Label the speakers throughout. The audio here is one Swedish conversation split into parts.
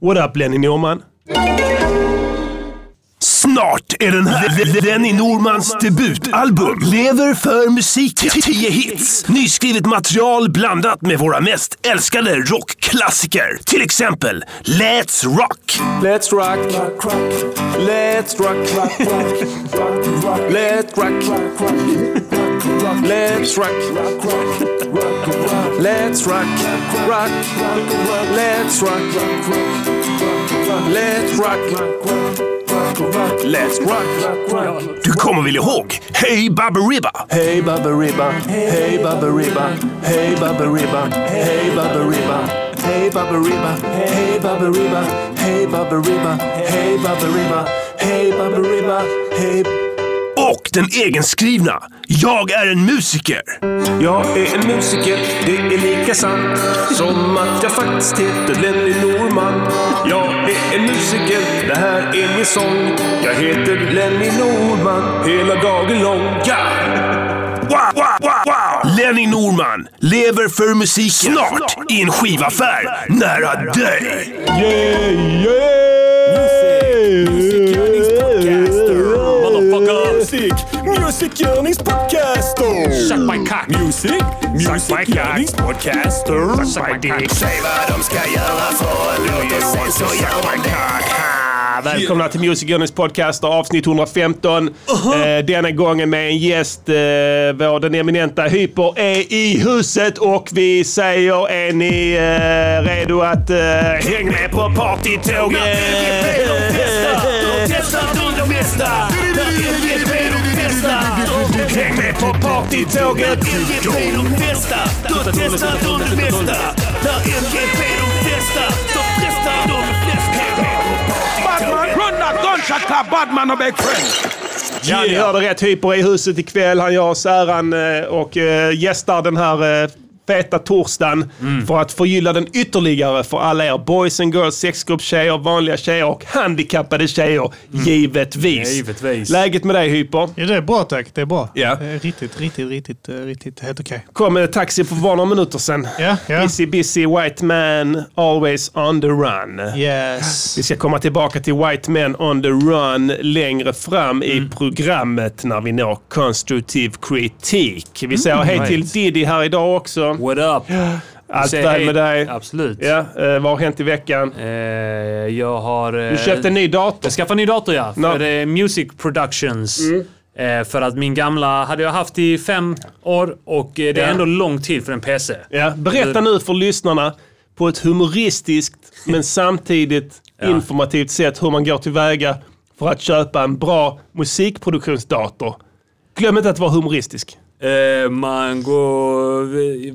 Speaker 1: What up Lenny Norman? Snart är den här. Lenny Normans debutalbum. Lever för musik. 10 hits. Nyskrivet material blandat med våra mest älskade rockklassiker. Till exempel Let's Rock.
Speaker 2: Let's rock, let's rock, let's rock, let's rock, let's rock, rock, let's rock, let's rock, let's rock.
Speaker 1: Du kommer väl ihåg Hey Baba Ribba?
Speaker 2: Hey Baba Ribba, hey Baba Ribba, hey Baba Ribba, hey Baba Ribba, hey Baba Ribba, hey Baba Ribba, hey Baba Ribba, hey Baba Ribba, hey Baba Ribba, hey
Speaker 1: Och den egenskrivna Jag är en musiker.
Speaker 2: Jag är en musiker, det är lika sant som att jag faktiskt heter Lenny Norman. Jag är en musiker, det här är min sång. Jag heter Lenny Norman hela dagen lång. Ja!
Speaker 1: Wow, wow, wow, wow. Lenny Norman lever för musik snart i en skivaffär nära dig.
Speaker 3: Music, music yearnings podcaster. Suck my cock. Music, music yearnings podcaster. Suck my dick. Säg vad de ska göra för en låt och sen så gör man
Speaker 4: Välkomna till Music Journeys podcast avsnitt 115. Eh, denna gången med en gäst, eh, vår den eminenta Hyper är i huset och vi säger är ni eh, redo att eh, häng med på partytåget? Häng med på partytåget! Ja, ni hörde rätt. Hyper är i huset ikväll. Han gör oss äran eh, och eh, gästar den här eh, feta torsdagen
Speaker 5: Mm.
Speaker 4: för att förgylla den ytterligare för alla er boys and girls, sexgruppstjejer, vanliga tjejer och handikappade tjejer.
Speaker 5: Mm.
Speaker 4: Givetvis.
Speaker 2: Givetvis.
Speaker 4: Läget med dig Hyper?
Speaker 5: Ja, det är bra tack. Det är bra.
Speaker 4: Ja.
Speaker 5: Det är riktigt, riktigt, riktigt, eh, riktigt helt okej.
Speaker 4: Kom en taxi för bara några minuter sedan.
Speaker 5: Ja, ja.
Speaker 4: Busy, busy white man, always on the run.
Speaker 5: Yes.
Speaker 4: Vi ska komma tillbaka till White Men on the Run längre fram
Speaker 6: Mm.
Speaker 4: i programmet när vi når konstruktiv kritik. Vi
Speaker 6: Mm.
Speaker 4: säger hej till Diddy här idag också.
Speaker 6: What up?
Speaker 4: Allt
Speaker 6: Säg
Speaker 4: väl
Speaker 6: hej.
Speaker 4: med dig?
Speaker 6: Absolut.
Speaker 4: Ja, eh, vad har hänt i veckan?
Speaker 6: Eh, jag har... Eh,
Speaker 4: Du köpte en ny dator.
Speaker 6: Jag skaffade en ny dator ja.
Speaker 4: Nå.
Speaker 6: För eh, Music Productions.
Speaker 4: Mm.
Speaker 6: Eh, för att min gamla hade jag haft i fem år och eh, det
Speaker 4: Ja.
Speaker 6: är ändå lång tid för en PC.
Speaker 4: Ja, berätta nu för lyssnarna på ett humoristiskt men samtidigt informativt sätt hur man går tillväga för att köpa en bra musikproduktionsdator. Glöm inte att vara humoristisk.
Speaker 6: Eh, man går...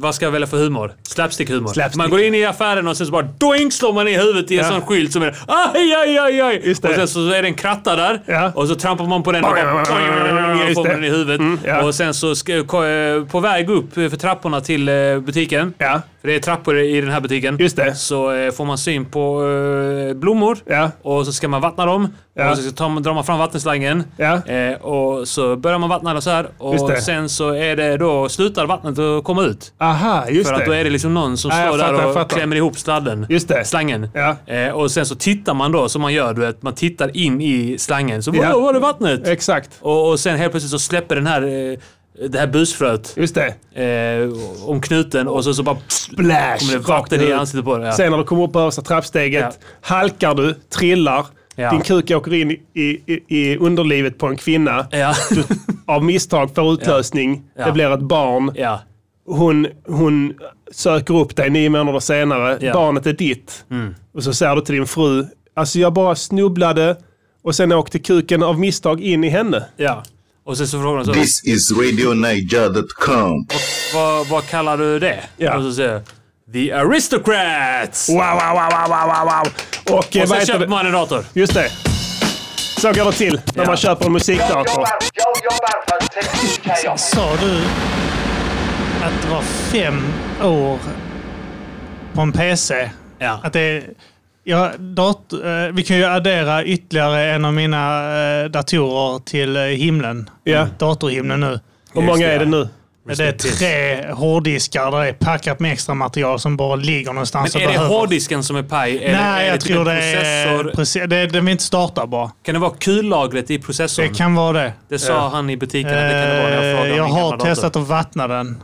Speaker 6: Vad ska jag välja för humor? Slapstick-humor.
Speaker 4: Slapstick.
Speaker 6: Man går in i affären och sen så bara doink slår man i huvudet i en
Speaker 4: Ja.
Speaker 6: sån skylt som är aj, aj, aj, aj.
Speaker 4: Just det.
Speaker 6: Och sen så är det en kratta där
Speaker 4: Ja.
Speaker 6: och så trampar man på den och bara
Speaker 4: Just
Speaker 6: får
Speaker 4: det. Mm,
Speaker 6: man den i huvudet.
Speaker 4: ja.
Speaker 6: Och sen så ska, ko- eh, på väg upp för trapporna till eh, butiken.
Speaker 4: Ja,
Speaker 6: För det är trappor i den här butiken.
Speaker 4: Just det.
Speaker 6: Så eh, får man syn på eh, blommor.
Speaker 4: ja.
Speaker 6: Och så ska man vattna dem.
Speaker 4: Ja.
Speaker 6: Och så tar man, drar man fram vattenslangen.
Speaker 4: Ja.
Speaker 6: Eh, och så börjar man vattna dem så här.
Speaker 4: Just
Speaker 6: Och
Speaker 4: det.
Speaker 6: sen så är det då, slutar vattnet att komma ut.
Speaker 4: Aha, just
Speaker 6: För
Speaker 4: det.
Speaker 6: att då är det liksom någon som
Speaker 4: Ja, jag
Speaker 6: står
Speaker 4: fattar,
Speaker 6: där
Speaker 4: jag
Speaker 6: och
Speaker 4: fattar.
Speaker 6: klämmer ihop sladden.
Speaker 4: Just det.
Speaker 6: Slangen.
Speaker 4: Ja.
Speaker 6: Eh, och sen så tittar man då som man gör, du vet. Man tittar in i slangen. Så
Speaker 4: Ja.
Speaker 6: ja. var det vattnet?
Speaker 4: Exakt.
Speaker 6: Och, och sen helt plötsligt så släpper den här, eh, det här busfröet
Speaker 4: Just det.
Speaker 6: eh, om knuten och så, så bara kommer
Speaker 4: Splash!
Speaker 6: det
Speaker 4: Rakt
Speaker 6: vatten i
Speaker 4: ut.
Speaker 6: ansiktet på dig. Ja.
Speaker 4: Sen när du kommer upp på översta trappsteget, halkar du, trillar,
Speaker 6: Ja.
Speaker 4: din kuk åker in i, i, i underlivet på en kvinna.
Speaker 6: Ja.
Speaker 4: Du, av misstag får utlösning,
Speaker 6: Ja.
Speaker 4: det blir ett barn.
Speaker 6: ja.
Speaker 4: Hon, hon söker upp dig nio månader senare,
Speaker 6: Ja. Mm.
Speaker 4: barnet är ditt. Och så säger du till din fru, alltså jag bara snubblade och sen åkte kuken av misstag in i henne.
Speaker 6: ja. Och sen så frågar de så,
Speaker 7: This is RadioNiger.com.
Speaker 6: vad, vad kallar du det?
Speaker 4: Ja.
Speaker 6: Och så säger jag, The Aristocrats!
Speaker 4: Wow, wow, wow, wow, wow, wow, wow. Och, eh, vad
Speaker 6: Och sen
Speaker 4: heter
Speaker 6: köper
Speaker 4: det?
Speaker 6: man en dator.
Speaker 4: Just det. Så går det till när
Speaker 6: Ja.
Speaker 4: man köper en musikdator.
Speaker 8: Jag jobbar för teknikhajar.
Speaker 5: Sa du att det var fem år på en PC?
Speaker 6: Ja.
Speaker 5: Att det är... Ja, dat- eh, vi kan ju addera ytterligare en av mina eh, datorer till eh, himlen.
Speaker 4: Ja.
Speaker 5: Datorhimlen nu.
Speaker 4: Hur många är det nu?
Speaker 5: Det är tre hårddiskar där det är packat med extra material som bara ligger någonstans
Speaker 6: Men är
Speaker 5: och
Speaker 6: det
Speaker 5: behöver...
Speaker 6: hårddisken som är paj? Är det,
Speaker 5: Nej,
Speaker 6: är
Speaker 5: jag
Speaker 6: typ en
Speaker 5: tror det är...
Speaker 6: processor?
Speaker 5: Processor... Det, den vill inte starta bara.
Speaker 6: Kan det vara kullagret i processorn?
Speaker 5: Det
Speaker 6: Det,
Speaker 5: kan vara det.
Speaker 6: sa han i butiken att det kan det vara när jag frågade
Speaker 5: Eh,
Speaker 6: om
Speaker 5: jag
Speaker 6: min
Speaker 5: har
Speaker 6: gamla dator.
Speaker 5: testat att vattna den.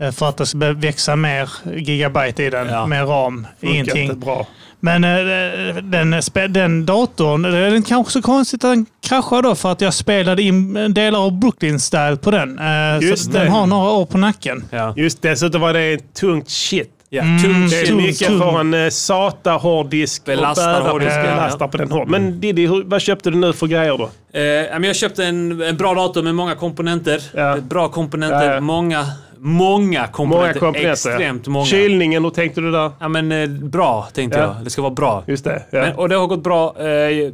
Speaker 5: eh, för att det ska växa mer gigabyte i den,
Speaker 6: Ja.
Speaker 5: mer ram. Ingenting.
Speaker 4: Funkar inte Bra.
Speaker 5: Men eh, den, spä- den datorn, det är kanske också konstigt att den kraschar då för att jag spelade in delar av Brooklyn Style på den. Eh,
Speaker 4: Just
Speaker 5: så den
Speaker 4: det.
Speaker 5: har några år på nacken.
Speaker 6: Ja.
Speaker 4: Just dessutom var det tungt shit.
Speaker 6: Ja.
Speaker 5: Mm,
Speaker 6: Tung
Speaker 4: Det är
Speaker 5: Tungt,
Speaker 4: mycket
Speaker 5: tungt.
Speaker 4: för en eh, sata hårddisk
Speaker 6: Belastar
Speaker 4: och bära på
Speaker 6: hårddisken, Mm.
Speaker 4: belastar på den hård. Men Diddy, hur, vad köpte du nu för grejer då?
Speaker 6: Eh, ja, men jag köpte en, en bra dator med många komponenter.
Speaker 4: Ja.
Speaker 6: Bra komponenter.
Speaker 4: Ja, ja.
Speaker 6: Många, många komponenter.
Speaker 4: Många komponenter.
Speaker 6: Extremt många.
Speaker 4: Kylningen, hur tänkte du där?
Speaker 6: Ja, men eh, bra tänkte
Speaker 4: Ja.
Speaker 6: jag. Det ska vara bra.
Speaker 4: Just det. Ja.
Speaker 6: Men, och det har gått bra. Eh,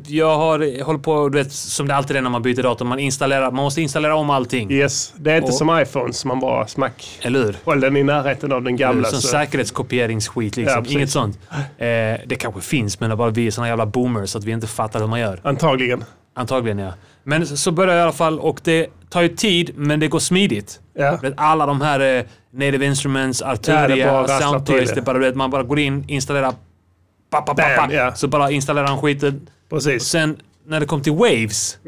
Speaker 6: Jag har hållit på, du vet, som det alltid är när man byter dator. Man, installerar, man måste installera om allting.
Speaker 4: yes. Det är inte
Speaker 6: Och-
Speaker 4: som iPhones, man bara smack.
Speaker 6: Eller hur?
Speaker 4: Håll den i närheten av den gamla.
Speaker 6: Sån
Speaker 4: så-
Speaker 6: säkerhetskopieringsskit
Speaker 4: alltså- Ja,
Speaker 6: liksom.
Speaker 4: precis.
Speaker 6: Inget sånt. Eh, det kanske finns, men det är bara vi är såna jävla boomers att vi inte fattar hur man gör.
Speaker 4: Antagligen.
Speaker 6: Antagligen ja. Men så så börjar jag i alla fall och det tar ju tid, men det går smidigt.
Speaker 4: Ja.
Speaker 6: Du vet, Alla de här eh, Native Instruments, Arturia,
Speaker 4: bara rasslar
Speaker 6: Soundtoys.
Speaker 4: till.
Speaker 6: Det är bara, du vet, man bara går in, installerar... Pa, pa, pa,
Speaker 4: Bam,
Speaker 6: pa,
Speaker 4: ja.
Speaker 6: Så bara installerar han skiten. Och
Speaker 4: Precis.
Speaker 6: sen när det kom till Waves,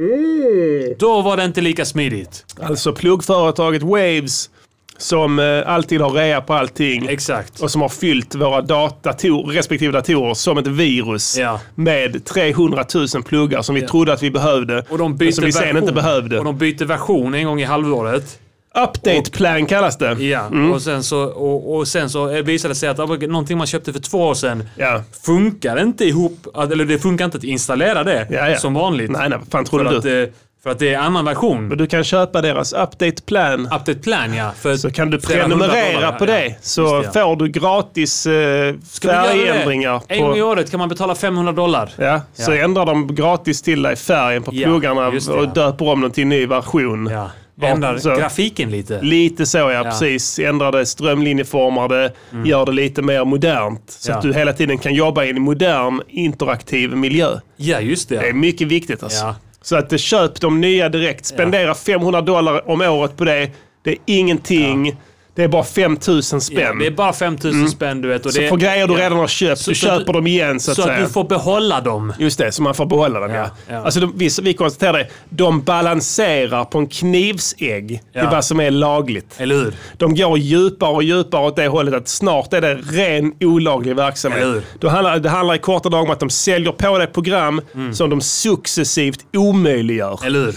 Speaker 6: då var det inte lika smidigt.
Speaker 4: Alltså pluggföretaget Waves som eh, alltid har rea på allting.
Speaker 6: Exakt.
Speaker 4: och som har fyllt våra datator, respektive datorer som ett virus
Speaker 6: Ja.
Speaker 4: med 300 000 pluggar som vi trodde att vi behövde,
Speaker 6: Och de byter
Speaker 4: men som Alltså, vi sen
Speaker 6: version.
Speaker 4: inte behövde.
Speaker 6: Och de byter version en gång i halvåret.
Speaker 4: Update plan kallas det.
Speaker 6: Ja,
Speaker 4: Mm.
Speaker 6: och sen så, och, och sen så visade det sig att ah, någonting man köpte för två år sedan
Speaker 4: Ja.
Speaker 6: funkar inte ihop, att- eller det funkar inte att installera det
Speaker 4: Ja, ja.
Speaker 6: som vanligt.
Speaker 4: Nej, nej, vad fan
Speaker 6: för,
Speaker 4: trodde
Speaker 6: att,
Speaker 4: du?
Speaker 6: eh, för att det är annan version.
Speaker 4: Men du kan köpa deras update plan.
Speaker 6: Update plan ja. För
Speaker 4: Så kan du
Speaker 6: flera hundra
Speaker 4: prenumerera
Speaker 6: dollar,
Speaker 4: på
Speaker 6: ja,
Speaker 4: det.
Speaker 6: ja.
Speaker 4: Så
Speaker 6: Just det, ja.
Speaker 4: får du gratis eh,
Speaker 6: Ska vi göra det?
Speaker 4: färgändringar.
Speaker 6: En gång i
Speaker 4: På,
Speaker 6: året kan man betala 500 dollar.
Speaker 4: ja, så
Speaker 6: Ja.
Speaker 4: ändrar de gratis till dig färgen på
Speaker 6: Ja,
Speaker 4: pluggarna
Speaker 6: just det,
Speaker 4: och
Speaker 6: ja.
Speaker 4: döper om den till en ny version.
Speaker 6: Ja.
Speaker 4: Vart-
Speaker 6: Ändrar
Speaker 4: så-
Speaker 6: grafiken lite.
Speaker 4: Lite så ja, precis. Ändra det, strömlinjeforma det, gör det lite mer modernt. Så
Speaker 6: Mm. Ja.
Speaker 4: att du hela tiden kan jobba i en modern, interaktiv miljö.
Speaker 6: Ja, just det.
Speaker 4: Det är mycket viktigt alltså.
Speaker 6: Ja.
Speaker 4: Så att eh, köp de nya direkt. Spendera 500 dollar om året på det. Det är ingenting. Det är bara 5000 spänn. Mm.
Speaker 6: Ja, det är bara 5000 spänn du vet. Och
Speaker 4: så
Speaker 6: det,
Speaker 4: för grejer du redan har köpt,
Speaker 6: Så-
Speaker 4: du
Speaker 6: så att
Speaker 4: köper
Speaker 6: du-
Speaker 4: dem igen så att
Speaker 6: så
Speaker 4: säga.
Speaker 6: att du får behålla dem.
Speaker 4: Just det, så man får behålla dem. Ja,
Speaker 6: ja.
Speaker 4: Alltså de, vi, vi konstaterar det. De balanserar på en knivsägg
Speaker 6: Ja.
Speaker 4: till vad som är lagligt.
Speaker 6: Eller hur?
Speaker 4: De går djupare och djupare åt det hållet att snart är det ren olaglig verksamhet.
Speaker 6: Eller hur?
Speaker 4: Då handlar, det handlar i korta drag om att de säljer på dig program
Speaker 6: Mm.
Speaker 4: som de successivt omöjliggör.
Speaker 6: Eller hur?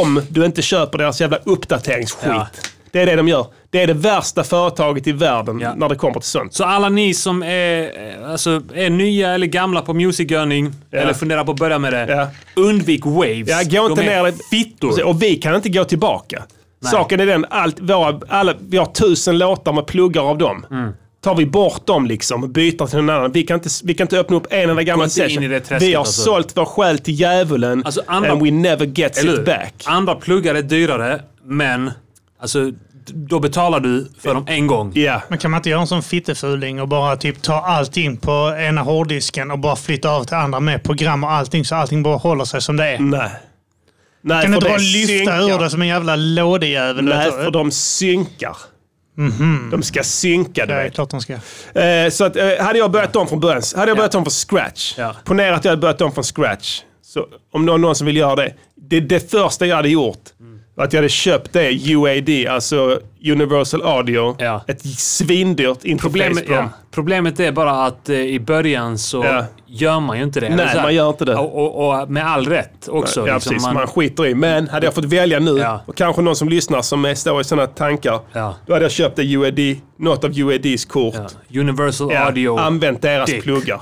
Speaker 4: Om du inte köper deras jävla uppdateringsskit.
Speaker 6: Ja.
Speaker 4: Det är det de gör. Det är det värsta företaget i världen
Speaker 6: Ja.
Speaker 4: när det kommer till sånt.
Speaker 6: Så alla ni som är, eh, alltså, är nya eller gamla på musikgörning eller funderar på att börja med det.
Speaker 4: Ja.
Speaker 6: Undvik waves.
Speaker 4: Ja, gå inte
Speaker 6: De
Speaker 4: ner
Speaker 6: är
Speaker 4: i
Speaker 6: fittor.
Speaker 4: Och vi kan inte gå tillbaka.
Speaker 6: Nej.
Speaker 4: Saken är den, allt, våra, alla, vi har tusen låtar med pluggar av dem.
Speaker 6: Mm.
Speaker 4: Tar vi bort dem liksom och byter till en annan. Vi kan inte, vi kan inte öppna upp en enda gammal
Speaker 6: inte in
Speaker 4: session.
Speaker 6: i det träsket,
Speaker 4: vi har
Speaker 6: alltså.
Speaker 4: sålt vår själ till djävulen
Speaker 6: Alltså, andra-
Speaker 4: and we never get
Speaker 6: Eller
Speaker 4: it
Speaker 6: hur?
Speaker 4: back.
Speaker 6: Andra pluggar är dyrare, men alltså, d- då betalar du för dem en gång.
Speaker 4: Ja,
Speaker 5: Men kan man inte göra en sån fittefuling och bara typ ta allting på ena hårddisken och bara flytta över till andra med program och allting så allting bara håller sig som det är?
Speaker 4: nej. Nej,
Speaker 5: Kan
Speaker 4: för
Speaker 5: du inte bara
Speaker 4: det
Speaker 5: lyfta
Speaker 4: synkar.
Speaker 5: ur det som en jävla lådejävel? Alltså,
Speaker 4: Nej,
Speaker 5: vet du?
Speaker 4: för de synkar.
Speaker 5: Mhm.
Speaker 4: De ska synka, du
Speaker 5: Ja, det är
Speaker 4: vet.
Speaker 5: klart de ska.
Speaker 4: Eh, så att, eh, hade jag börjat om från början, hade jag börjat om från scratch.
Speaker 6: Ja.
Speaker 4: Ponera att jag hade börjat om från scratch. Så om någon, någon som vill göra det. Det, det första jag hade gjort var att jag hade köpt det UAD, alltså Universal Audio.
Speaker 6: Ja.
Speaker 4: Ett svindyrt interface
Speaker 6: Problemet,
Speaker 4: på dem.
Speaker 6: ja. Problemet är bara att eh, i början så
Speaker 4: Ja.
Speaker 6: gör man ju inte det.
Speaker 4: Nej,
Speaker 6: Eller så här-
Speaker 4: man gör inte det.
Speaker 6: Och, och, och med all rätt också.
Speaker 4: ja,
Speaker 6: liksom.
Speaker 4: precis. Man,
Speaker 6: Man-
Speaker 4: skiter i. Men hade jag fått välja nu,
Speaker 6: Ja.
Speaker 4: och kanske någon som lyssnar som är- står i sådana tankar,
Speaker 6: Ja.
Speaker 4: då hade jag köpt det UAD, något av UADs kort.
Speaker 6: ja. Um, Universal
Speaker 4: Ja,
Speaker 6: audio.
Speaker 4: Använd deras
Speaker 6: dick.
Speaker 4: pluggar.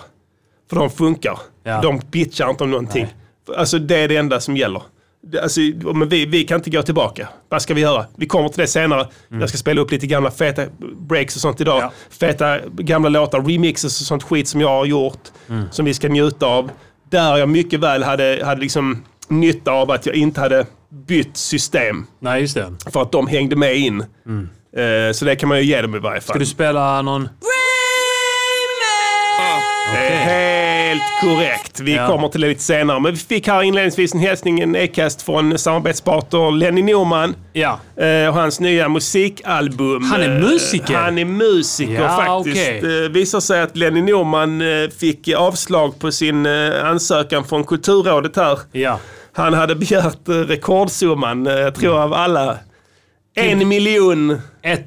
Speaker 4: För de funkar.
Speaker 6: Ja.
Speaker 4: De bitchar inte om någonting. För, Alltså det är det enda som gäller. Det- Alltså, men vi, vi kan inte gå tillbaka. Vad ska vi göra? Vi kommer till det senare. Jag ska spela upp lite gamla feta breaks och sånt idag.
Speaker 6: Mm. Ja.
Speaker 4: Feta gamla låtar, remixes och sånt skit som jag har gjort.
Speaker 6: Mm.
Speaker 4: Som vi ska njuta av. Där jag mycket väl hade, hade liksom nytta av att jag inte hade bytt system.
Speaker 6: Nej, just det.
Speaker 4: För att de hängde med in.
Speaker 6: Mm.
Speaker 4: Eh, så det kan man ju ge dem i varje fall.
Speaker 6: Ska du spela någon...
Speaker 4: Det är helt Korrekt. Vi
Speaker 6: Ja.
Speaker 4: kommer till det lite senare. Men vi fick här inledningsvis en hälsning, en e-cast från samarbetspartner Lenny Norman.
Speaker 6: Ja.
Speaker 4: Eh, och hans nya musikalbum.
Speaker 6: Han är
Speaker 4: Eh,
Speaker 6: musiker?
Speaker 4: Han är musiker
Speaker 6: Ja,
Speaker 4: faktiskt.
Speaker 6: okej.
Speaker 4: Eh, visar sig att Lenny Norman eh, fick avslag på sin eh, ansökan från Kulturrådet här.
Speaker 6: Ja.
Speaker 4: Han hade begärt eh, rekordsumman, eh, jag
Speaker 6: Mm.
Speaker 4: tror av alla. En miljon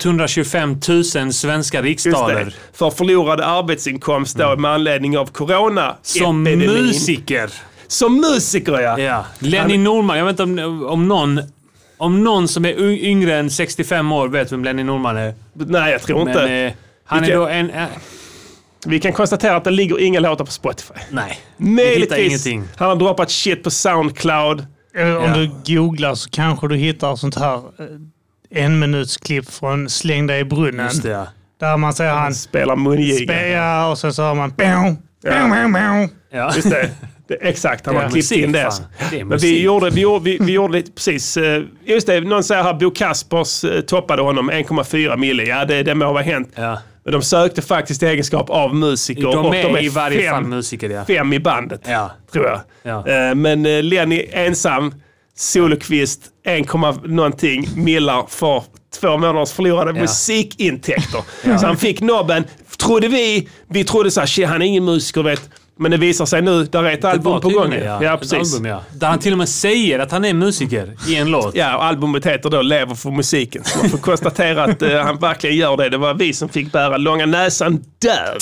Speaker 6: 125 000 svenska
Speaker 4: just det,
Speaker 6: riksdaler.
Speaker 4: för förlorad arbetsinkomst då, med anledning av corona
Speaker 6: Mm. Som musiker.
Speaker 4: Som musiker ja.
Speaker 6: Ja. Lenny Norman. Jag vet inte om, om någon... Om någon som är y- yngre än 65 år vet vem Lenny Norman är.
Speaker 4: Nej, jag tror inte.
Speaker 6: Men eh, han är
Speaker 4: Vilka-
Speaker 6: då en... eh,
Speaker 4: Vi kan konstatera att det ligger inga låtar på Spotify.
Speaker 6: nej. Vi hittar
Speaker 4: Möjligtvis.
Speaker 6: ingenting.
Speaker 4: Han har droppat shit på Soundcloud.
Speaker 5: Eller om
Speaker 6: Ja.
Speaker 5: du googlar så kanske du hittar sånt här eh, en minuts klipp från Släng dig i brunnen.
Speaker 6: Just det, ja.
Speaker 5: Där man ser han
Speaker 4: Spelar mungiga.
Speaker 5: speja och sen så hör man... Bow, bow, bow, bow.
Speaker 6: ja.
Speaker 4: Just det. det. Exakt, han har
Speaker 6: Ja,
Speaker 4: klippt
Speaker 6: musik,
Speaker 4: in det.
Speaker 6: fan.
Speaker 4: alltså.
Speaker 6: Det är
Speaker 4: Men vi
Speaker 6: musik.
Speaker 4: gjorde, vi, gjorde, vi, vi gjorde lite, precis. eh, Just det, någon säger här Bo Kaspers eh, toppade honom 1,4 mille. Ja, det, det må ha hänt.
Speaker 6: Ja.
Speaker 4: Men de sökte faktiskt i egenskap av musiker.
Speaker 6: De
Speaker 4: och
Speaker 6: är, i varje
Speaker 4: fem,
Speaker 6: fall musiker, ja.
Speaker 4: fem i bandet,
Speaker 6: Ja.
Speaker 4: tror jag.
Speaker 6: Ja.
Speaker 4: Eh, Men eh, Lenny ensam, solokvist, 1, någonting millar för två månaders förlorade musikintäkter. Så han fick nobben, trodde vi. Vi trodde så här, "Shit, han är ingen musiker vet. Men det visar sig nu, där är ett
Speaker 6: var
Speaker 4: album på
Speaker 6: tydligen
Speaker 4: gång.
Speaker 6: det,
Speaker 4: Ja,
Speaker 6: Ja, Ett
Speaker 4: precis.
Speaker 6: Album, ja. Där han till och med säger att han är musiker i en låt.
Speaker 4: Ja, och albumet heter då Lever för musiken. Så man får konstatera att eh, han verkligen gör det. Det var vi som fick bära långa näsan döv.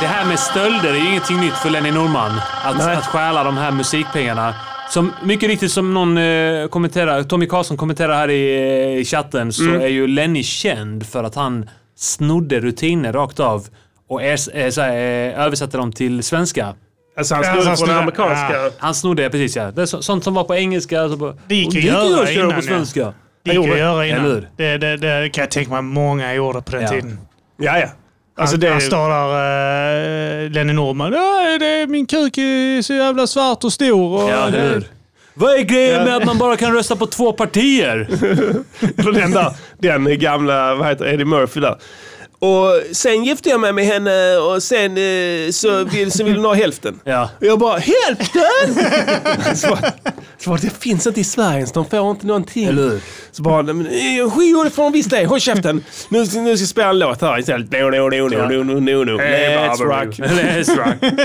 Speaker 6: Det här med stölder är ju ingenting nytt för Lenny Norman. Att,
Speaker 4: Nej.
Speaker 6: att stjäla de här musikpengarna. Som, mycket riktigt som någon eh, kommenterar, Tommy Karlsson kommenterar här i, eh, i chatten, så
Speaker 5: Mm.
Speaker 6: är ju Lenny känd för att han snodde rutiner rakt av och ers, eh, så här, eh, översatte dem till svenska.
Speaker 4: Alltså han snodde
Speaker 5: Ja, han
Speaker 4: från den
Speaker 5: snodde-
Speaker 4: amerikanska.
Speaker 5: ja.
Speaker 6: Han snodde, precis ja. Det är så, sånt som var på engelska. Så på,
Speaker 5: Det gick ju
Speaker 6: Och
Speaker 5: att göra
Speaker 6: att köra
Speaker 5: innan,
Speaker 6: på
Speaker 5: ja.
Speaker 6: svenska.
Speaker 5: Det gick att göra
Speaker 6: Eller
Speaker 5: innan.
Speaker 6: hur?
Speaker 5: Det, det, det kan jag tänka mig många gjorde på den
Speaker 6: Ja.
Speaker 5: tiden.
Speaker 4: Ja, ja. Alltså
Speaker 5: han,
Speaker 4: det,
Speaker 5: han står där, eh, Lenny Norman. "Ja, Det är min kuk är så jävla svart och stor. Och
Speaker 6: Ja, eller
Speaker 5: det,
Speaker 6: hur? Vad är grejen med att man bara kan rösta på två partier?
Speaker 4: Eller den där, den gamla, vad heter Eddie Murphy där. Och sen gifte jag mig med henne och sen eh, så vill, så vill hon ha hälften.
Speaker 6: Ja.
Speaker 4: Och jag bara, hälften? så, bara- så bara, det finns inte i Sverige så de får inte någonting.
Speaker 6: Eller hur?
Speaker 4: Så bara, "Nej, men, eh, skitgör det får de visst det, håll käften. Nu, ska- nu ska jag spela en låt här istället. No, no, no, no, no, no, no, no.
Speaker 6: Eh,
Speaker 4: Let's rock.
Speaker 6: Let's rock.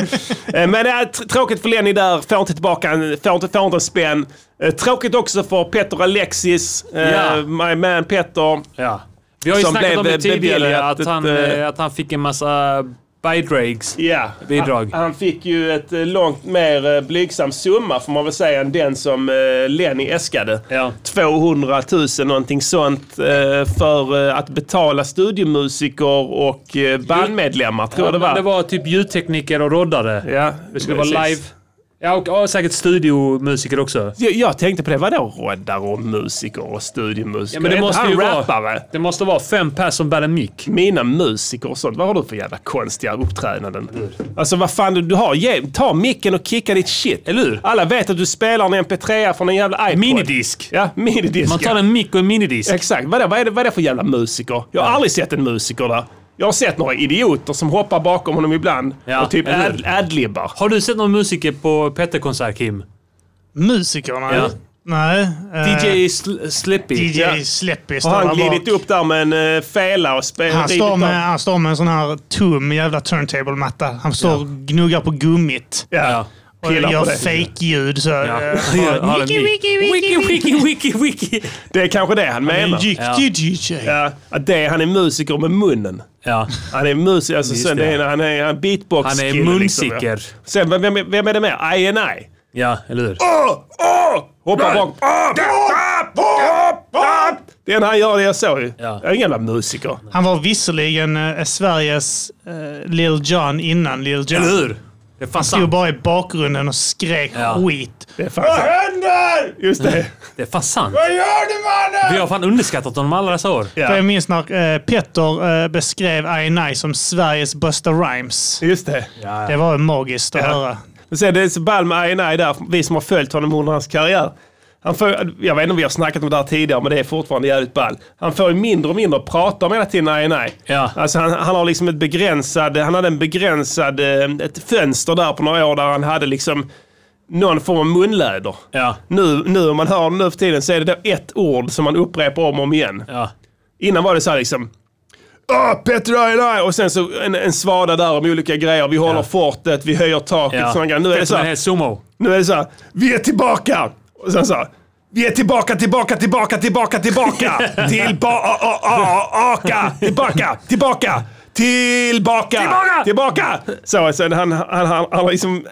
Speaker 4: Eh, Men det är tr- tråkigt för Lenny där, får inte tillbaka en, får inte, får inte en spänn. Eh, Tråkigt också för Petter Alexis, eh,
Speaker 6: Ja.
Speaker 4: my man Petter.
Speaker 6: Ja. Vi har ju
Speaker 4: Som
Speaker 6: snackat
Speaker 4: blev
Speaker 6: om det tidigare,
Speaker 4: beviljat
Speaker 6: att han,
Speaker 4: ett, eh,
Speaker 6: eh, att han fick en massa bidrags.
Speaker 4: Ja,
Speaker 6: Bidrag.
Speaker 4: Han, han fick ju ett eh, långt mer eh, blygsam summa får man väl säga än den som eh, Lenny äskade.
Speaker 6: Ja.
Speaker 4: 200 000 någonting sånt eh, för eh, att betala studiomusiker och eh, bandmedlemmar tror jag det var.
Speaker 6: Det var typ ljudtekniker och roddare.
Speaker 4: Ja,
Speaker 6: Det skulle vara
Speaker 4: precis.
Speaker 6: live. Ja, och, och säkert studiomusiker också.
Speaker 4: Jag, jag tänkte på det, vadå roddar och musiker och studiomusiker?
Speaker 6: Ja, men
Speaker 4: Är
Speaker 6: det
Speaker 4: inte
Speaker 6: måste
Speaker 4: han
Speaker 6: ju
Speaker 4: rappare?
Speaker 6: vara... Det måste vara fem pers som bär en mick.
Speaker 4: Mina musiker och sånt, vad har du för jävla konstiga uppträdanden? Alltså vad fan, du, du har, ge, ta micken och kicka ditt shit.
Speaker 6: Eller hur?
Speaker 4: Alla vet att du spelar en mp3 från en jävla iPod.
Speaker 6: Minidisk.
Speaker 4: Ja, minidisk.
Speaker 6: Man tar
Speaker 4: ja.
Speaker 6: en mick och en minidisk.
Speaker 4: Exakt. Vad är, det, vad, är det, vad är det för jävla musiker? Jag har aldrig sett en musiker där. Jag har sett några idioter som hoppar bakom honom ibland
Speaker 6: Ja,
Speaker 4: och typ
Speaker 6: eller hur?
Speaker 4: ad, adlibbar.
Speaker 6: Har du sett någon musiker på Petter-konsert, Kim?
Speaker 4: Eh.
Speaker 5: Musikerna?
Speaker 6: Ja.
Speaker 5: Nej. eh,
Speaker 6: DJ Sl- Slippy.
Speaker 5: DJ
Speaker 4: ja.
Speaker 5: Släppis.
Speaker 4: Har
Speaker 5: står
Speaker 4: han
Speaker 5: där
Speaker 4: glidit
Speaker 5: bak.
Speaker 4: upp där med en eh, fela och spelar
Speaker 5: Han står, med, han står med en sån här tom jävla turntable-matta. Han står och gnuggar på gummit.
Speaker 4: Ja.
Speaker 5: Och
Speaker 4: Pillar
Speaker 5: gör
Speaker 4: på det.
Speaker 5: fake-ljud. Så,
Speaker 6: Ja.
Speaker 5: eh,
Speaker 6: Ja, har en
Speaker 5: wiki,
Speaker 6: mick.
Speaker 5: wiki, wiki, wiki.
Speaker 6: wiki, wiki, wiki.
Speaker 4: Det är kanske det han menar.
Speaker 6: Ja.
Speaker 5: Dyktig DJ.
Speaker 4: Ja, att det, han är musiker med munnen.
Speaker 6: Ja.
Speaker 4: Han är musiker, alltså,
Speaker 6: Just
Speaker 4: sen
Speaker 6: det.
Speaker 4: det. är- han är, han är beatbox
Speaker 6: Han är
Speaker 4: kille,
Speaker 6: munsiker.
Speaker 4: Liksom, ja. Sen, vem, vem, vem är det mer? I and I.
Speaker 6: Ja, eller hur?
Speaker 4: Hoppar bak. Det är när han gör det jag såg ju.
Speaker 6: Ja.
Speaker 4: Jag är ingen jävla musiker.
Speaker 5: Han var visserligen eh, Sveriges eh, Lil Jon innan Lil Jon.
Speaker 6: Eller hur? Det är fan
Speaker 5: Stod
Speaker 6: sant.
Speaker 5: bara i bakgrunden och skrek
Speaker 6: Ja.
Speaker 5: skit.
Speaker 4: Det är fan Vad händer? Just det.
Speaker 6: Det är fan sant.
Speaker 4: Vad gör du mannen?
Speaker 6: Vi har fan underskattat honom alla dessa år.
Speaker 5: För
Speaker 4: Ja,
Speaker 5: jag minns när eh, Petter eh, beskrev I&I som Sveriges Busta Rhymes.
Speaker 4: just det.
Speaker 5: Det var ju magiskt att höra.
Speaker 4: Men sen det är så ball med I and I där, vi som har följt honom under hans karriär. Han får, jag vet inte om vi har snackat om det här tidigare, men det är fortfarande jävligt ball. Han får ju mindre och mindre att prata om hela tiden, nej, nej.
Speaker 6: Ja.
Speaker 4: Alltså han, han har liksom ett begränsad, han hade en begränsad, eh, ett fönster där på några år där han hade liksom någon form av munläder.
Speaker 6: Ja.
Speaker 4: Nu, nu om man hör nu för tiden så är det då ett ord som man upprepar om och om igen.
Speaker 6: Ja.
Speaker 4: Innan var det så här liksom. Ah, Petter aj, aj. Och sen så en, en svada där om olika grejer. Vi håller
Speaker 6: Ja.
Speaker 4: fortet, vi höjer taket.
Speaker 6: Ja.
Speaker 4: Ja. Sådana grejer. Nu är det så här.
Speaker 6: Helt sumo.
Speaker 4: Nu är det så här. Vi är tillbaka! Och sen så här. Vi är tillbaka, tillbaka, tillbaka, tillbaka, tillbaka! Tillbaka! Tillbaka! Tillbaka! Tillbaka!
Speaker 6: Tillbaka!
Speaker 4: Tillbaka! Så sen han, han, han, han har liksom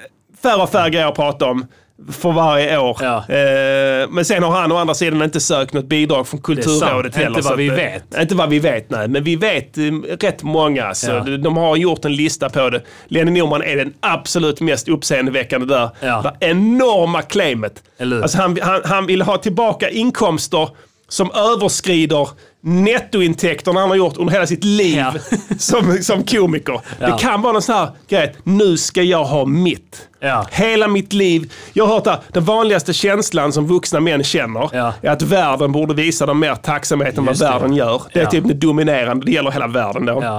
Speaker 4: färre och färre grejer att prata om för varje år.
Speaker 6: Ja.
Speaker 4: Eh, men sen har han å andra sidan inte sökt något bidrag från Kulturrådet
Speaker 6: Inte
Speaker 4: heller.
Speaker 6: vad
Speaker 4: så att,
Speaker 6: vi
Speaker 4: eh,
Speaker 6: vet.
Speaker 4: Inte vad vi vet, nej. Men vi vet eh, rätt många. Så
Speaker 6: Ja.
Speaker 4: de- De har gjort en lista på det. Lenny Norman är den absolut mest uppseendeväckande där.
Speaker 6: Ja.
Speaker 4: Det enorma claimet.
Speaker 6: Eller hur?
Speaker 4: Alltså han, han, han vill ha tillbaka inkomster som överskrider nettointäkterna han har gjort under hela sitt liv
Speaker 6: Ja.
Speaker 4: som, som komiker.
Speaker 6: Ja.
Speaker 4: Det kan vara någon sån här grej, nu ska jag ha mitt.
Speaker 6: Ja.
Speaker 4: Hela mitt liv. Jag har hört att den vanligaste känslan som vuxna män känner
Speaker 6: Ja.
Speaker 4: är att världen borde visa dem mer tacksamhet än vad
Speaker 6: Just det.
Speaker 4: världen gör. Det är
Speaker 6: Ja.
Speaker 4: typ det dominerande, det gäller hela världen då.
Speaker 6: Ja.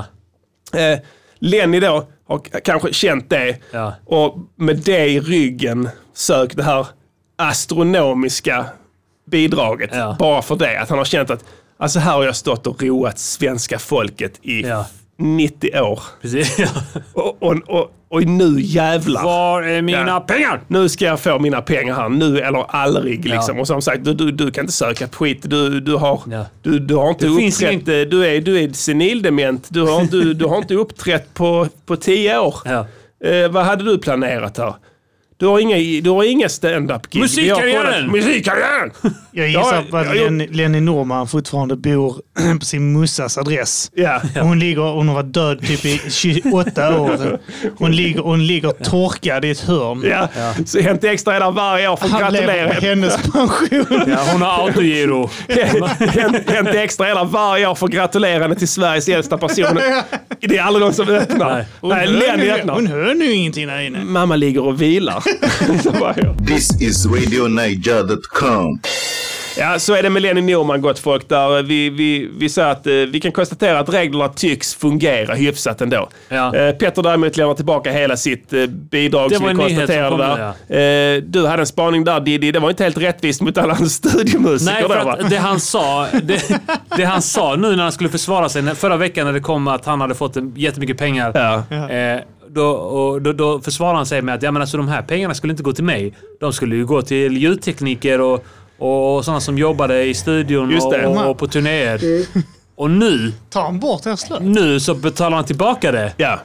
Speaker 4: Eh, Lenny då har k- kanske känt det
Speaker 6: Ja.
Speaker 4: och med det i ryggen sökt det här astronomiska bidraget.
Speaker 6: Ja.
Speaker 4: Bara för det, att han har känt att alltså här har jag stått och roat svenska folket i
Speaker 6: Ja.
Speaker 4: 90 år.
Speaker 6: Precis. Ja.
Speaker 4: Och, och, och, och nu jävlar.
Speaker 6: Var är mina
Speaker 4: Ja.
Speaker 6: pengar?
Speaker 4: Nu ska jag få mina pengar här, nu eller aldrig. Liksom.
Speaker 6: Ja.
Speaker 4: Och som sagt, du, du, du kan inte söka på skit. Du, du, har,
Speaker 6: Ja.
Speaker 4: du, du har inte
Speaker 6: Det finns
Speaker 4: uppträtt.
Speaker 6: ingen-
Speaker 4: eh, Du, är, du är senildement. Du har, du, du har inte uppträtt på, på tio år.
Speaker 6: Ja.
Speaker 4: Eh, vad hade du planerat här? Du har inga, du har inga stand-up gig. Vi har kollat-
Speaker 6: Musikkarriären!
Speaker 4: Musikkarriären!
Speaker 5: Jag gissar på
Speaker 4: Ja,
Speaker 5: att
Speaker 4: jag-
Speaker 5: Lenny, Lenny Norman fortfarande bor på sin mussas adress.
Speaker 4: ja.
Speaker 5: Hon, ligger, hon har varit död typ i 28 år. Hon ligger, hon ligger torkad i ett hörn.
Speaker 4: Ja. Så Hänt Extra är där varje år för att
Speaker 5: Han lever
Speaker 4: gratulera.
Speaker 5: på hennes pension.
Speaker 6: Ja, hon har autogiro.
Speaker 4: Hänt Hänt Extra är där varje år för att gratulera henne till Sveriges äldsta person. Det är aldrig någon som öppnar. Nej,
Speaker 5: Hon, hör
Speaker 4: Lenny
Speaker 5: nu,
Speaker 4: öppnar.
Speaker 5: hon hör nu ingenting där inne.
Speaker 4: Mamma ligger och vilar. Så bara, ja.
Speaker 7: This is RadioNiger.com.
Speaker 4: ja, så är det med Lenny Norman, gott folk. Där eh, vi, vi, vi säger att eh, vi kan konstatera att reglerna tycks fungera hyfsat ändå.
Speaker 6: Ja.
Speaker 4: Eh, Petter däremot lämnar tillbaka hela sitt eh, bidrag
Speaker 6: Det
Speaker 4: som
Speaker 6: var
Speaker 4: vi
Speaker 6: en nyhet som
Speaker 4: konstaterade
Speaker 6: kom
Speaker 4: där. Eh, du hade en spaning där Diddy. Det var inte helt rättvist mot alla hans studiomusiker
Speaker 6: Nej,
Speaker 4: då,
Speaker 6: för
Speaker 4: va?
Speaker 6: att det han sa det, det han sa nu när han skulle försvara sig när- förra veckan när det kom att han hade fått en- jättemycket pengar.
Speaker 4: Ja.
Speaker 6: Eh, då, och då, då försvarade han sig med att ja, men alltså, de här pengarna skulle inte gå till mig. De skulle ju gå till ljudtekniker och, och sådana som jobbade i studion
Speaker 4: Just
Speaker 6: och,
Speaker 4: det.
Speaker 6: och, och på turnéer. Och nu,
Speaker 5: Ta han bort er slöja?
Speaker 6: nu så betalar han tillbaka det.
Speaker 4: Ja,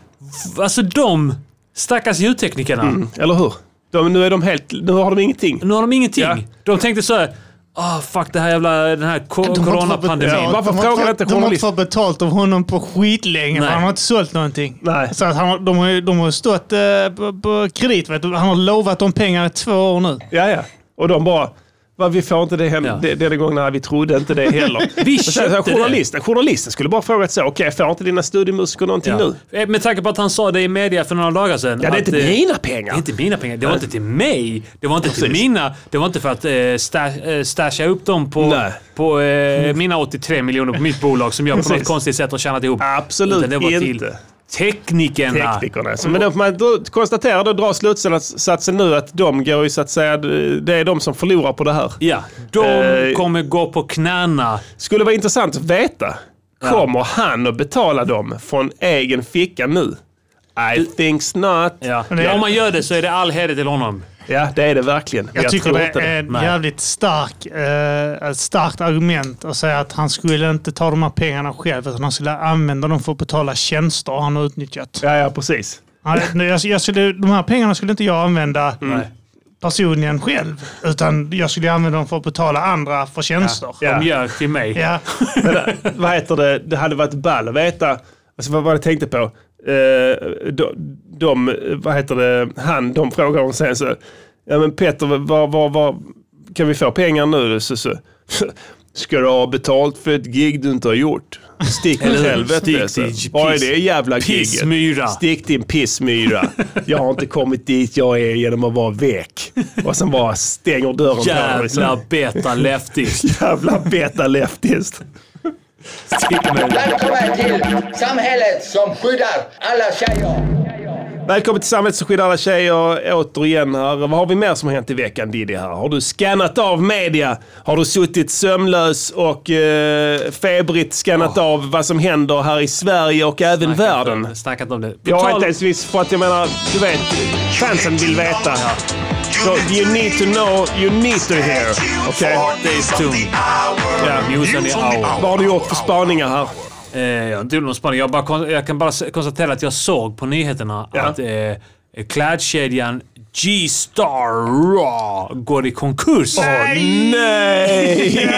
Speaker 6: Alltså de stackars ljudteknikerna.
Speaker 4: eller hur? De, nu, är de helt, nu har de ingenting.
Speaker 6: Nu har de ingenting.
Speaker 4: Ja.
Speaker 6: De tänkte så här, ah fuck det här jävla, den här ko-
Speaker 5: De har inte fått
Speaker 6: coronapandemin.
Speaker 5: betalt.
Speaker 4: Varför
Speaker 5: De har
Speaker 4: frågar
Speaker 5: fått-
Speaker 4: inte
Speaker 5: De har inte
Speaker 4: journalist-
Speaker 5: fått betalt av honom på skitlänge. för
Speaker 6: Nej.
Speaker 5: Han har inte sålt någonting.
Speaker 4: Nej.
Speaker 5: Så att han, har- de, har, ju- de har ju stått eh, på, på kredit. Vet du. Han har lovat dem pengar i två år nu.
Speaker 4: Ja, ja. Och de bara, va, vi får inte det hända
Speaker 6: Ja.
Speaker 4: det, denna gången. Nej, vi trodde inte det heller.
Speaker 6: Vi
Speaker 4: Och sen, så här,
Speaker 6: köpte det.
Speaker 4: journalisten, journalisten skulle bara frågat så, okej, får inte dina studiemusiker någonting nu?
Speaker 6: Eh, Med tanke på att han sa det i media för några dagar sedan.
Speaker 4: Ja, det är
Speaker 6: att,
Speaker 4: inte
Speaker 6: eh,
Speaker 4: mina
Speaker 6: Det
Speaker 4: pengar.
Speaker 6: är inte mina pengar. Det var inte till mig. Det var inte till mina. Det var inte för att eh, stash, eh, stasha upp dem på,
Speaker 4: Nej.
Speaker 6: på eh, mina 83 miljoner på mitt bolag som jag på något konstigt sätt har tjänat ihop.
Speaker 4: Absolut
Speaker 6: Utan det var till
Speaker 4: inte.
Speaker 6: teknikerna.
Speaker 4: Teknikerna. Så, men då får man då konstatera då drar slutsatsen nu att de går ju så att säga, det är de som förlorar på det här.
Speaker 6: Ja, de
Speaker 4: Eh.
Speaker 6: kommer gå på knäna.
Speaker 4: Skulle vara intressant att veta. Kommer han att betala dem från egen ficka nu? I thinks not.
Speaker 6: Ja.
Speaker 5: Men det-
Speaker 6: Om man gör det så är det all heder till honom.
Speaker 4: Ja, det är det verkligen. Men
Speaker 5: Jag, tycker
Speaker 4: tror
Speaker 5: det
Speaker 4: inte
Speaker 5: är ett
Speaker 6: Nej.
Speaker 5: jävligt stark, eh, ett starkt argument att säga att han skulle inte ta de här pengarna själv utan han skulle använda dem för att betala tjänster han har utnyttjat.
Speaker 4: Ja, ja, precis.
Speaker 5: Han, jag, jag skulle, de här pengarna skulle inte jag använda
Speaker 4: Mm.
Speaker 6: Mm.
Speaker 5: personligen själv utan jag skulle använda dem för att betala andra för tjänster.
Speaker 4: Ja.
Speaker 6: De gör till mig.
Speaker 5: Ja.
Speaker 4: vad heter det, det hade varit ball att veta, alltså vad var det jag tänkte på? Eh, de, de, vad heter det, han, de frågar om sen så, ja men Peter, vad, vad, vad, kan vi få pengar nu? Så, så, Ska du ha betalt för ett gig du inte har gjort? Stick åt
Speaker 6: Eller hur?
Speaker 4: helvete.
Speaker 6: Stick till
Speaker 4: så. Vad är
Speaker 6: piss-
Speaker 4: det jävla gigget?
Speaker 6: pissmyra.
Speaker 4: Stick din pissmyra. Jag har inte kommit dit jag är genom att vara väck. Och sen bara stänger dörren på dig.
Speaker 6: Jävla
Speaker 4: Så-
Speaker 6: beta leftist.
Speaker 4: Jävla beta-leftist.
Speaker 8: Välkommen till samhället som skyddar alla tjejer.
Speaker 4: Välkommen till Samhället som skyddar alla tjejer återigen här. Vad har vi mer som har hänt i veckan Diddy här? Har du scannat av media? Har du suttit sömnlös och eh, febrigt scannat av vad som händer här i Sverige och även världen?
Speaker 6: Snackat om Oh. det. På
Speaker 4: Jag har
Speaker 6: tal-
Speaker 4: inte ens visst, för att jag menar, du vet, fansen vill veta. So you need to know, you need to hear. Okej?
Speaker 6: Days Tune.
Speaker 4: Ja.
Speaker 6: News on the hour.
Speaker 4: Vad har du gjort för spaningar här?
Speaker 6: Eh, jag har inte gjort någon spaning. Jag, bara, kon- jag kan bara s- konstatera att jag såg på nyheterna
Speaker 4: Ja.
Speaker 6: att eh, klädkedjan G-Star Raw går i konkurs.
Speaker 4: Nej!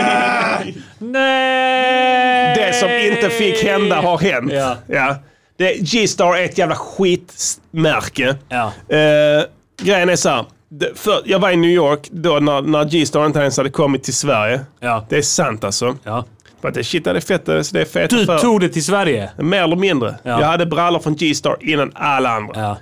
Speaker 6: Nej!
Speaker 4: Det som inte fick hända har hänt.
Speaker 6: Ja.
Speaker 4: Ja. Det, G-Star är ett jävla skitmärke.
Speaker 6: Ja.
Speaker 4: Eh, grejen är så här. Det- För, jag var i New York då när, när G-Star inte ens hade kommit till Sverige.
Speaker 6: Ja.
Speaker 4: Det är sant alltså.
Speaker 6: Ja.
Speaker 4: För att det, shit, det är fett. alltså, Det är fett
Speaker 6: Du
Speaker 4: för.
Speaker 6: tog det till Sverige.
Speaker 4: Mer eller mindre.
Speaker 6: Ja.
Speaker 4: Jag hade brallor från G-Star innan alla andra.
Speaker 6: Ja.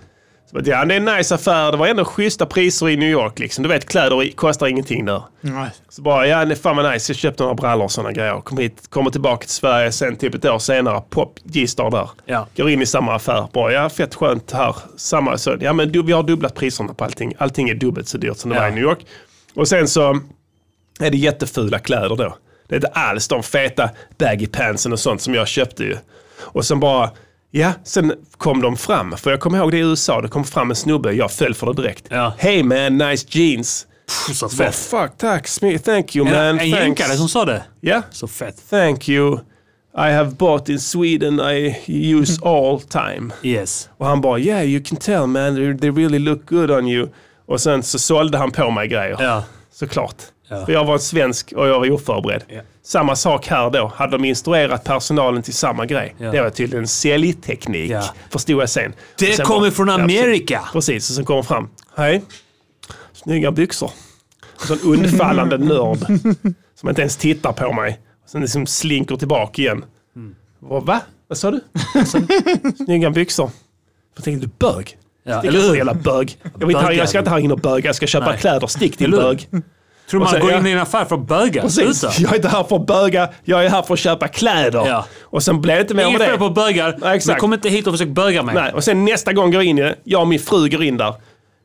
Speaker 4: Så att, ja, det är en nice affär. Det var ändå schyssta priser i New York. Liksom. Du vet, kläder i- kostar ingenting där.
Speaker 5: Nej.
Speaker 4: Så bara, ja nej, fan vad nice, jag köpte några brallor och sådana grejer. Kom hit, kommer tillbaka till Sverige sen typ ett år senare, pop, G-star där.
Speaker 6: Ja.
Speaker 4: Går in i samma affär, bara, ja fett skönt här. Samma, så, ja men du, vi har dubblat priserna på allting. Allting är dubbelt så dyrt som det
Speaker 6: Ja.
Speaker 4: var i New York. Och sen så är det jättefula kläder då. Det är inte alls de feta baggy pantsen och sånt som jag köpte ju. Och sen bara, ja, sen kom de fram. För jag kommer ihåg det i USA, det kom fram en snubbe, jag föll för det direkt.
Speaker 6: Ja.
Speaker 4: Hey man, nice jeans.
Speaker 6: Så
Speaker 4: Well,
Speaker 6: fett.
Speaker 4: Oh, fuck, tack. Smi- Thank you man.
Speaker 6: en en
Speaker 4: Thanks.
Speaker 6: jänkare som sa det.
Speaker 4: Yeah.
Speaker 6: Så fett.
Speaker 4: Thank you. I have bought in Sweden. I use all time.
Speaker 6: Yes.
Speaker 4: Och han bara yeah you can tell man. They- They really look good on you. Och sen så sålde han på mig grejer.
Speaker 6: Ja.
Speaker 4: Såklart.
Speaker 6: Ja.
Speaker 4: För jag var svensk och jag var oförberedd.
Speaker 6: Ja.
Speaker 4: Samma sak här då. Hade de instruerat personalen till samma grej.
Speaker 6: Ja.
Speaker 4: Det var tydligen säljteknik.
Speaker 6: Ja.
Speaker 4: Förstod jag sen.
Speaker 6: Det
Speaker 4: Och sen
Speaker 6: kommer
Speaker 4: bara-
Speaker 6: från
Speaker 4: Ja, precis.
Speaker 6: Amerika.
Speaker 4: Precis, och sen kommer fram. Hej. Snygga byxor. Och så en undfallande nörd. Som inte ens tittar på mig. Och sen liksom slinker tillbaka igen.
Speaker 6: Mm.
Speaker 4: Vad- Va? Vad sa du? Snygga byxor. Jag tänkte, du bög.
Speaker 6: Ja,
Speaker 4: Stick
Speaker 6: eller
Speaker 4: härifrån
Speaker 6: hur?
Speaker 4: jävla bög. Jag, vill inte, ha- jag ska inte ha in och böga, jag ska köpa
Speaker 6: Nej.
Speaker 4: kläder. Stick din
Speaker 6: Eller hur?
Speaker 4: bög.
Speaker 6: Tror
Speaker 4: Och
Speaker 6: man
Speaker 4: sen-
Speaker 6: går
Speaker 4: ja.
Speaker 6: in i en affär för att böga?
Speaker 4: Precis.
Speaker 6: Sluta.
Speaker 4: Jag är inte här för att böga, jag är här för att köpa kläder.
Speaker 6: Ja.
Speaker 4: Och sen blev det inte mer
Speaker 6: Inget
Speaker 4: med det.
Speaker 6: fel på bögar,
Speaker 4: Nej, exakt.
Speaker 6: men kom inte hit och försök böga mig.
Speaker 4: Nej, och sen nästa gång går jag in i det, jag och min fru går in där.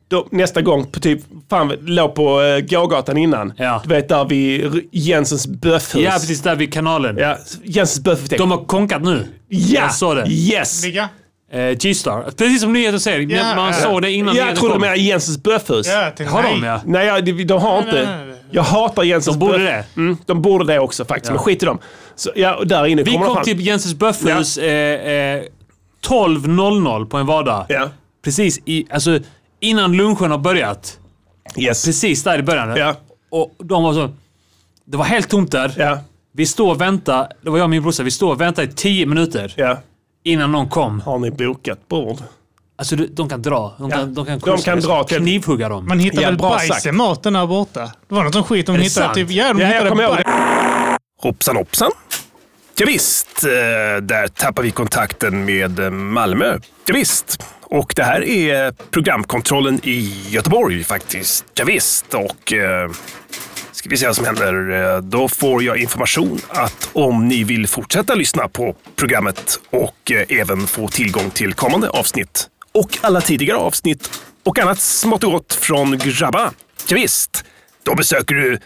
Speaker 4: Då, nästa gång, på typ, fan, låg på eh, gågatan innan.
Speaker 6: Ja.
Speaker 4: Du vet där vid R- Jensens böffhus.
Speaker 6: Ja, precis där vid kanalen.
Speaker 4: Ja, Jensens böffhus.
Speaker 6: De har konkat nu.
Speaker 4: ja,
Speaker 6: jag såg det.
Speaker 4: Yes!
Speaker 5: Vilka?
Speaker 6: Eh, G-Star. Precis som nyheten säger.
Speaker 5: Ja,
Speaker 6: man
Speaker 5: ja.
Speaker 6: såg det innan
Speaker 4: jag
Speaker 6: nyheten
Speaker 4: trodde du
Speaker 6: kom.
Speaker 4: menade Jensens böffhus.
Speaker 5: Ja, jag tänkte,
Speaker 6: Har
Speaker 5: nej.
Speaker 6: de ja?
Speaker 4: Nej, jag, de, de har inte.
Speaker 5: nej, nej.
Speaker 4: Jag hatar Jensens
Speaker 6: De borde
Speaker 4: böffhus. Mm, de borde det också faktiskt,
Speaker 6: Ja.
Speaker 4: men skit i dem. Så, ja, och där inne
Speaker 6: Vi
Speaker 4: kommer de
Speaker 6: kom
Speaker 4: fram.
Speaker 6: till Jensens Böffhus eh, eh, 12.00 på en vardag.
Speaker 4: Ja.
Speaker 6: Precis i, alltså, innan lunchen har börjat.
Speaker 4: Yes.
Speaker 6: Precis där i början.
Speaker 4: Ja.
Speaker 6: Och de var så... Det var helt tomt där.
Speaker 4: Ja,
Speaker 6: Vi står och väntar. Det var jag och min brorsa. Vi står och väntar i 10 minuter
Speaker 4: ja.
Speaker 6: innan någon kom.
Speaker 4: Har ni bokat bord?
Speaker 6: Alltså, du- de kan dra. De kan, de kan,
Speaker 4: De
Speaker 6: kursa.
Speaker 4: kan dra till-
Speaker 6: Knivhugga dem.
Speaker 5: Man hittade
Speaker 4: Ja,
Speaker 5: väl
Speaker 4: bra
Speaker 5: bajs
Speaker 4: sagt.
Speaker 5: i maten där borta? Det var något sån skit de
Speaker 6: det
Speaker 5: hittade.
Speaker 6: sant?
Speaker 5: Typ, ja, de
Speaker 4: Ja, jag
Speaker 5: hittade
Speaker 4: kommer ihåg
Speaker 5: bajs.
Speaker 4: det.
Speaker 2: Hoppsan hoppsan. Ja, visst, eh, där tappar vi kontakten med eh, Malmö. Ja, visst. Och det här är programkontrollen i Göteborg faktiskt. Ja, visst. och eh, ska vi se vad som händer. Eh, Då får jag information att om ni vill fortsätta lyssna på programmet och eh, även få tillgång till kommande avsnitt och alla tidigare avsnitt och annat smått och gott från grabba. Ja, visst. då besöker du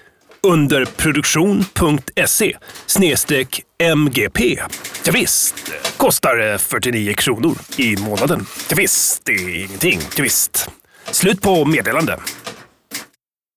Speaker 2: underproduktion.se E snedstreck MGP. Ja, visst. kostar eh, 49 kronor i månaden. Ja, visst. det är ingenting. Ja, visst. Slut på meddelande.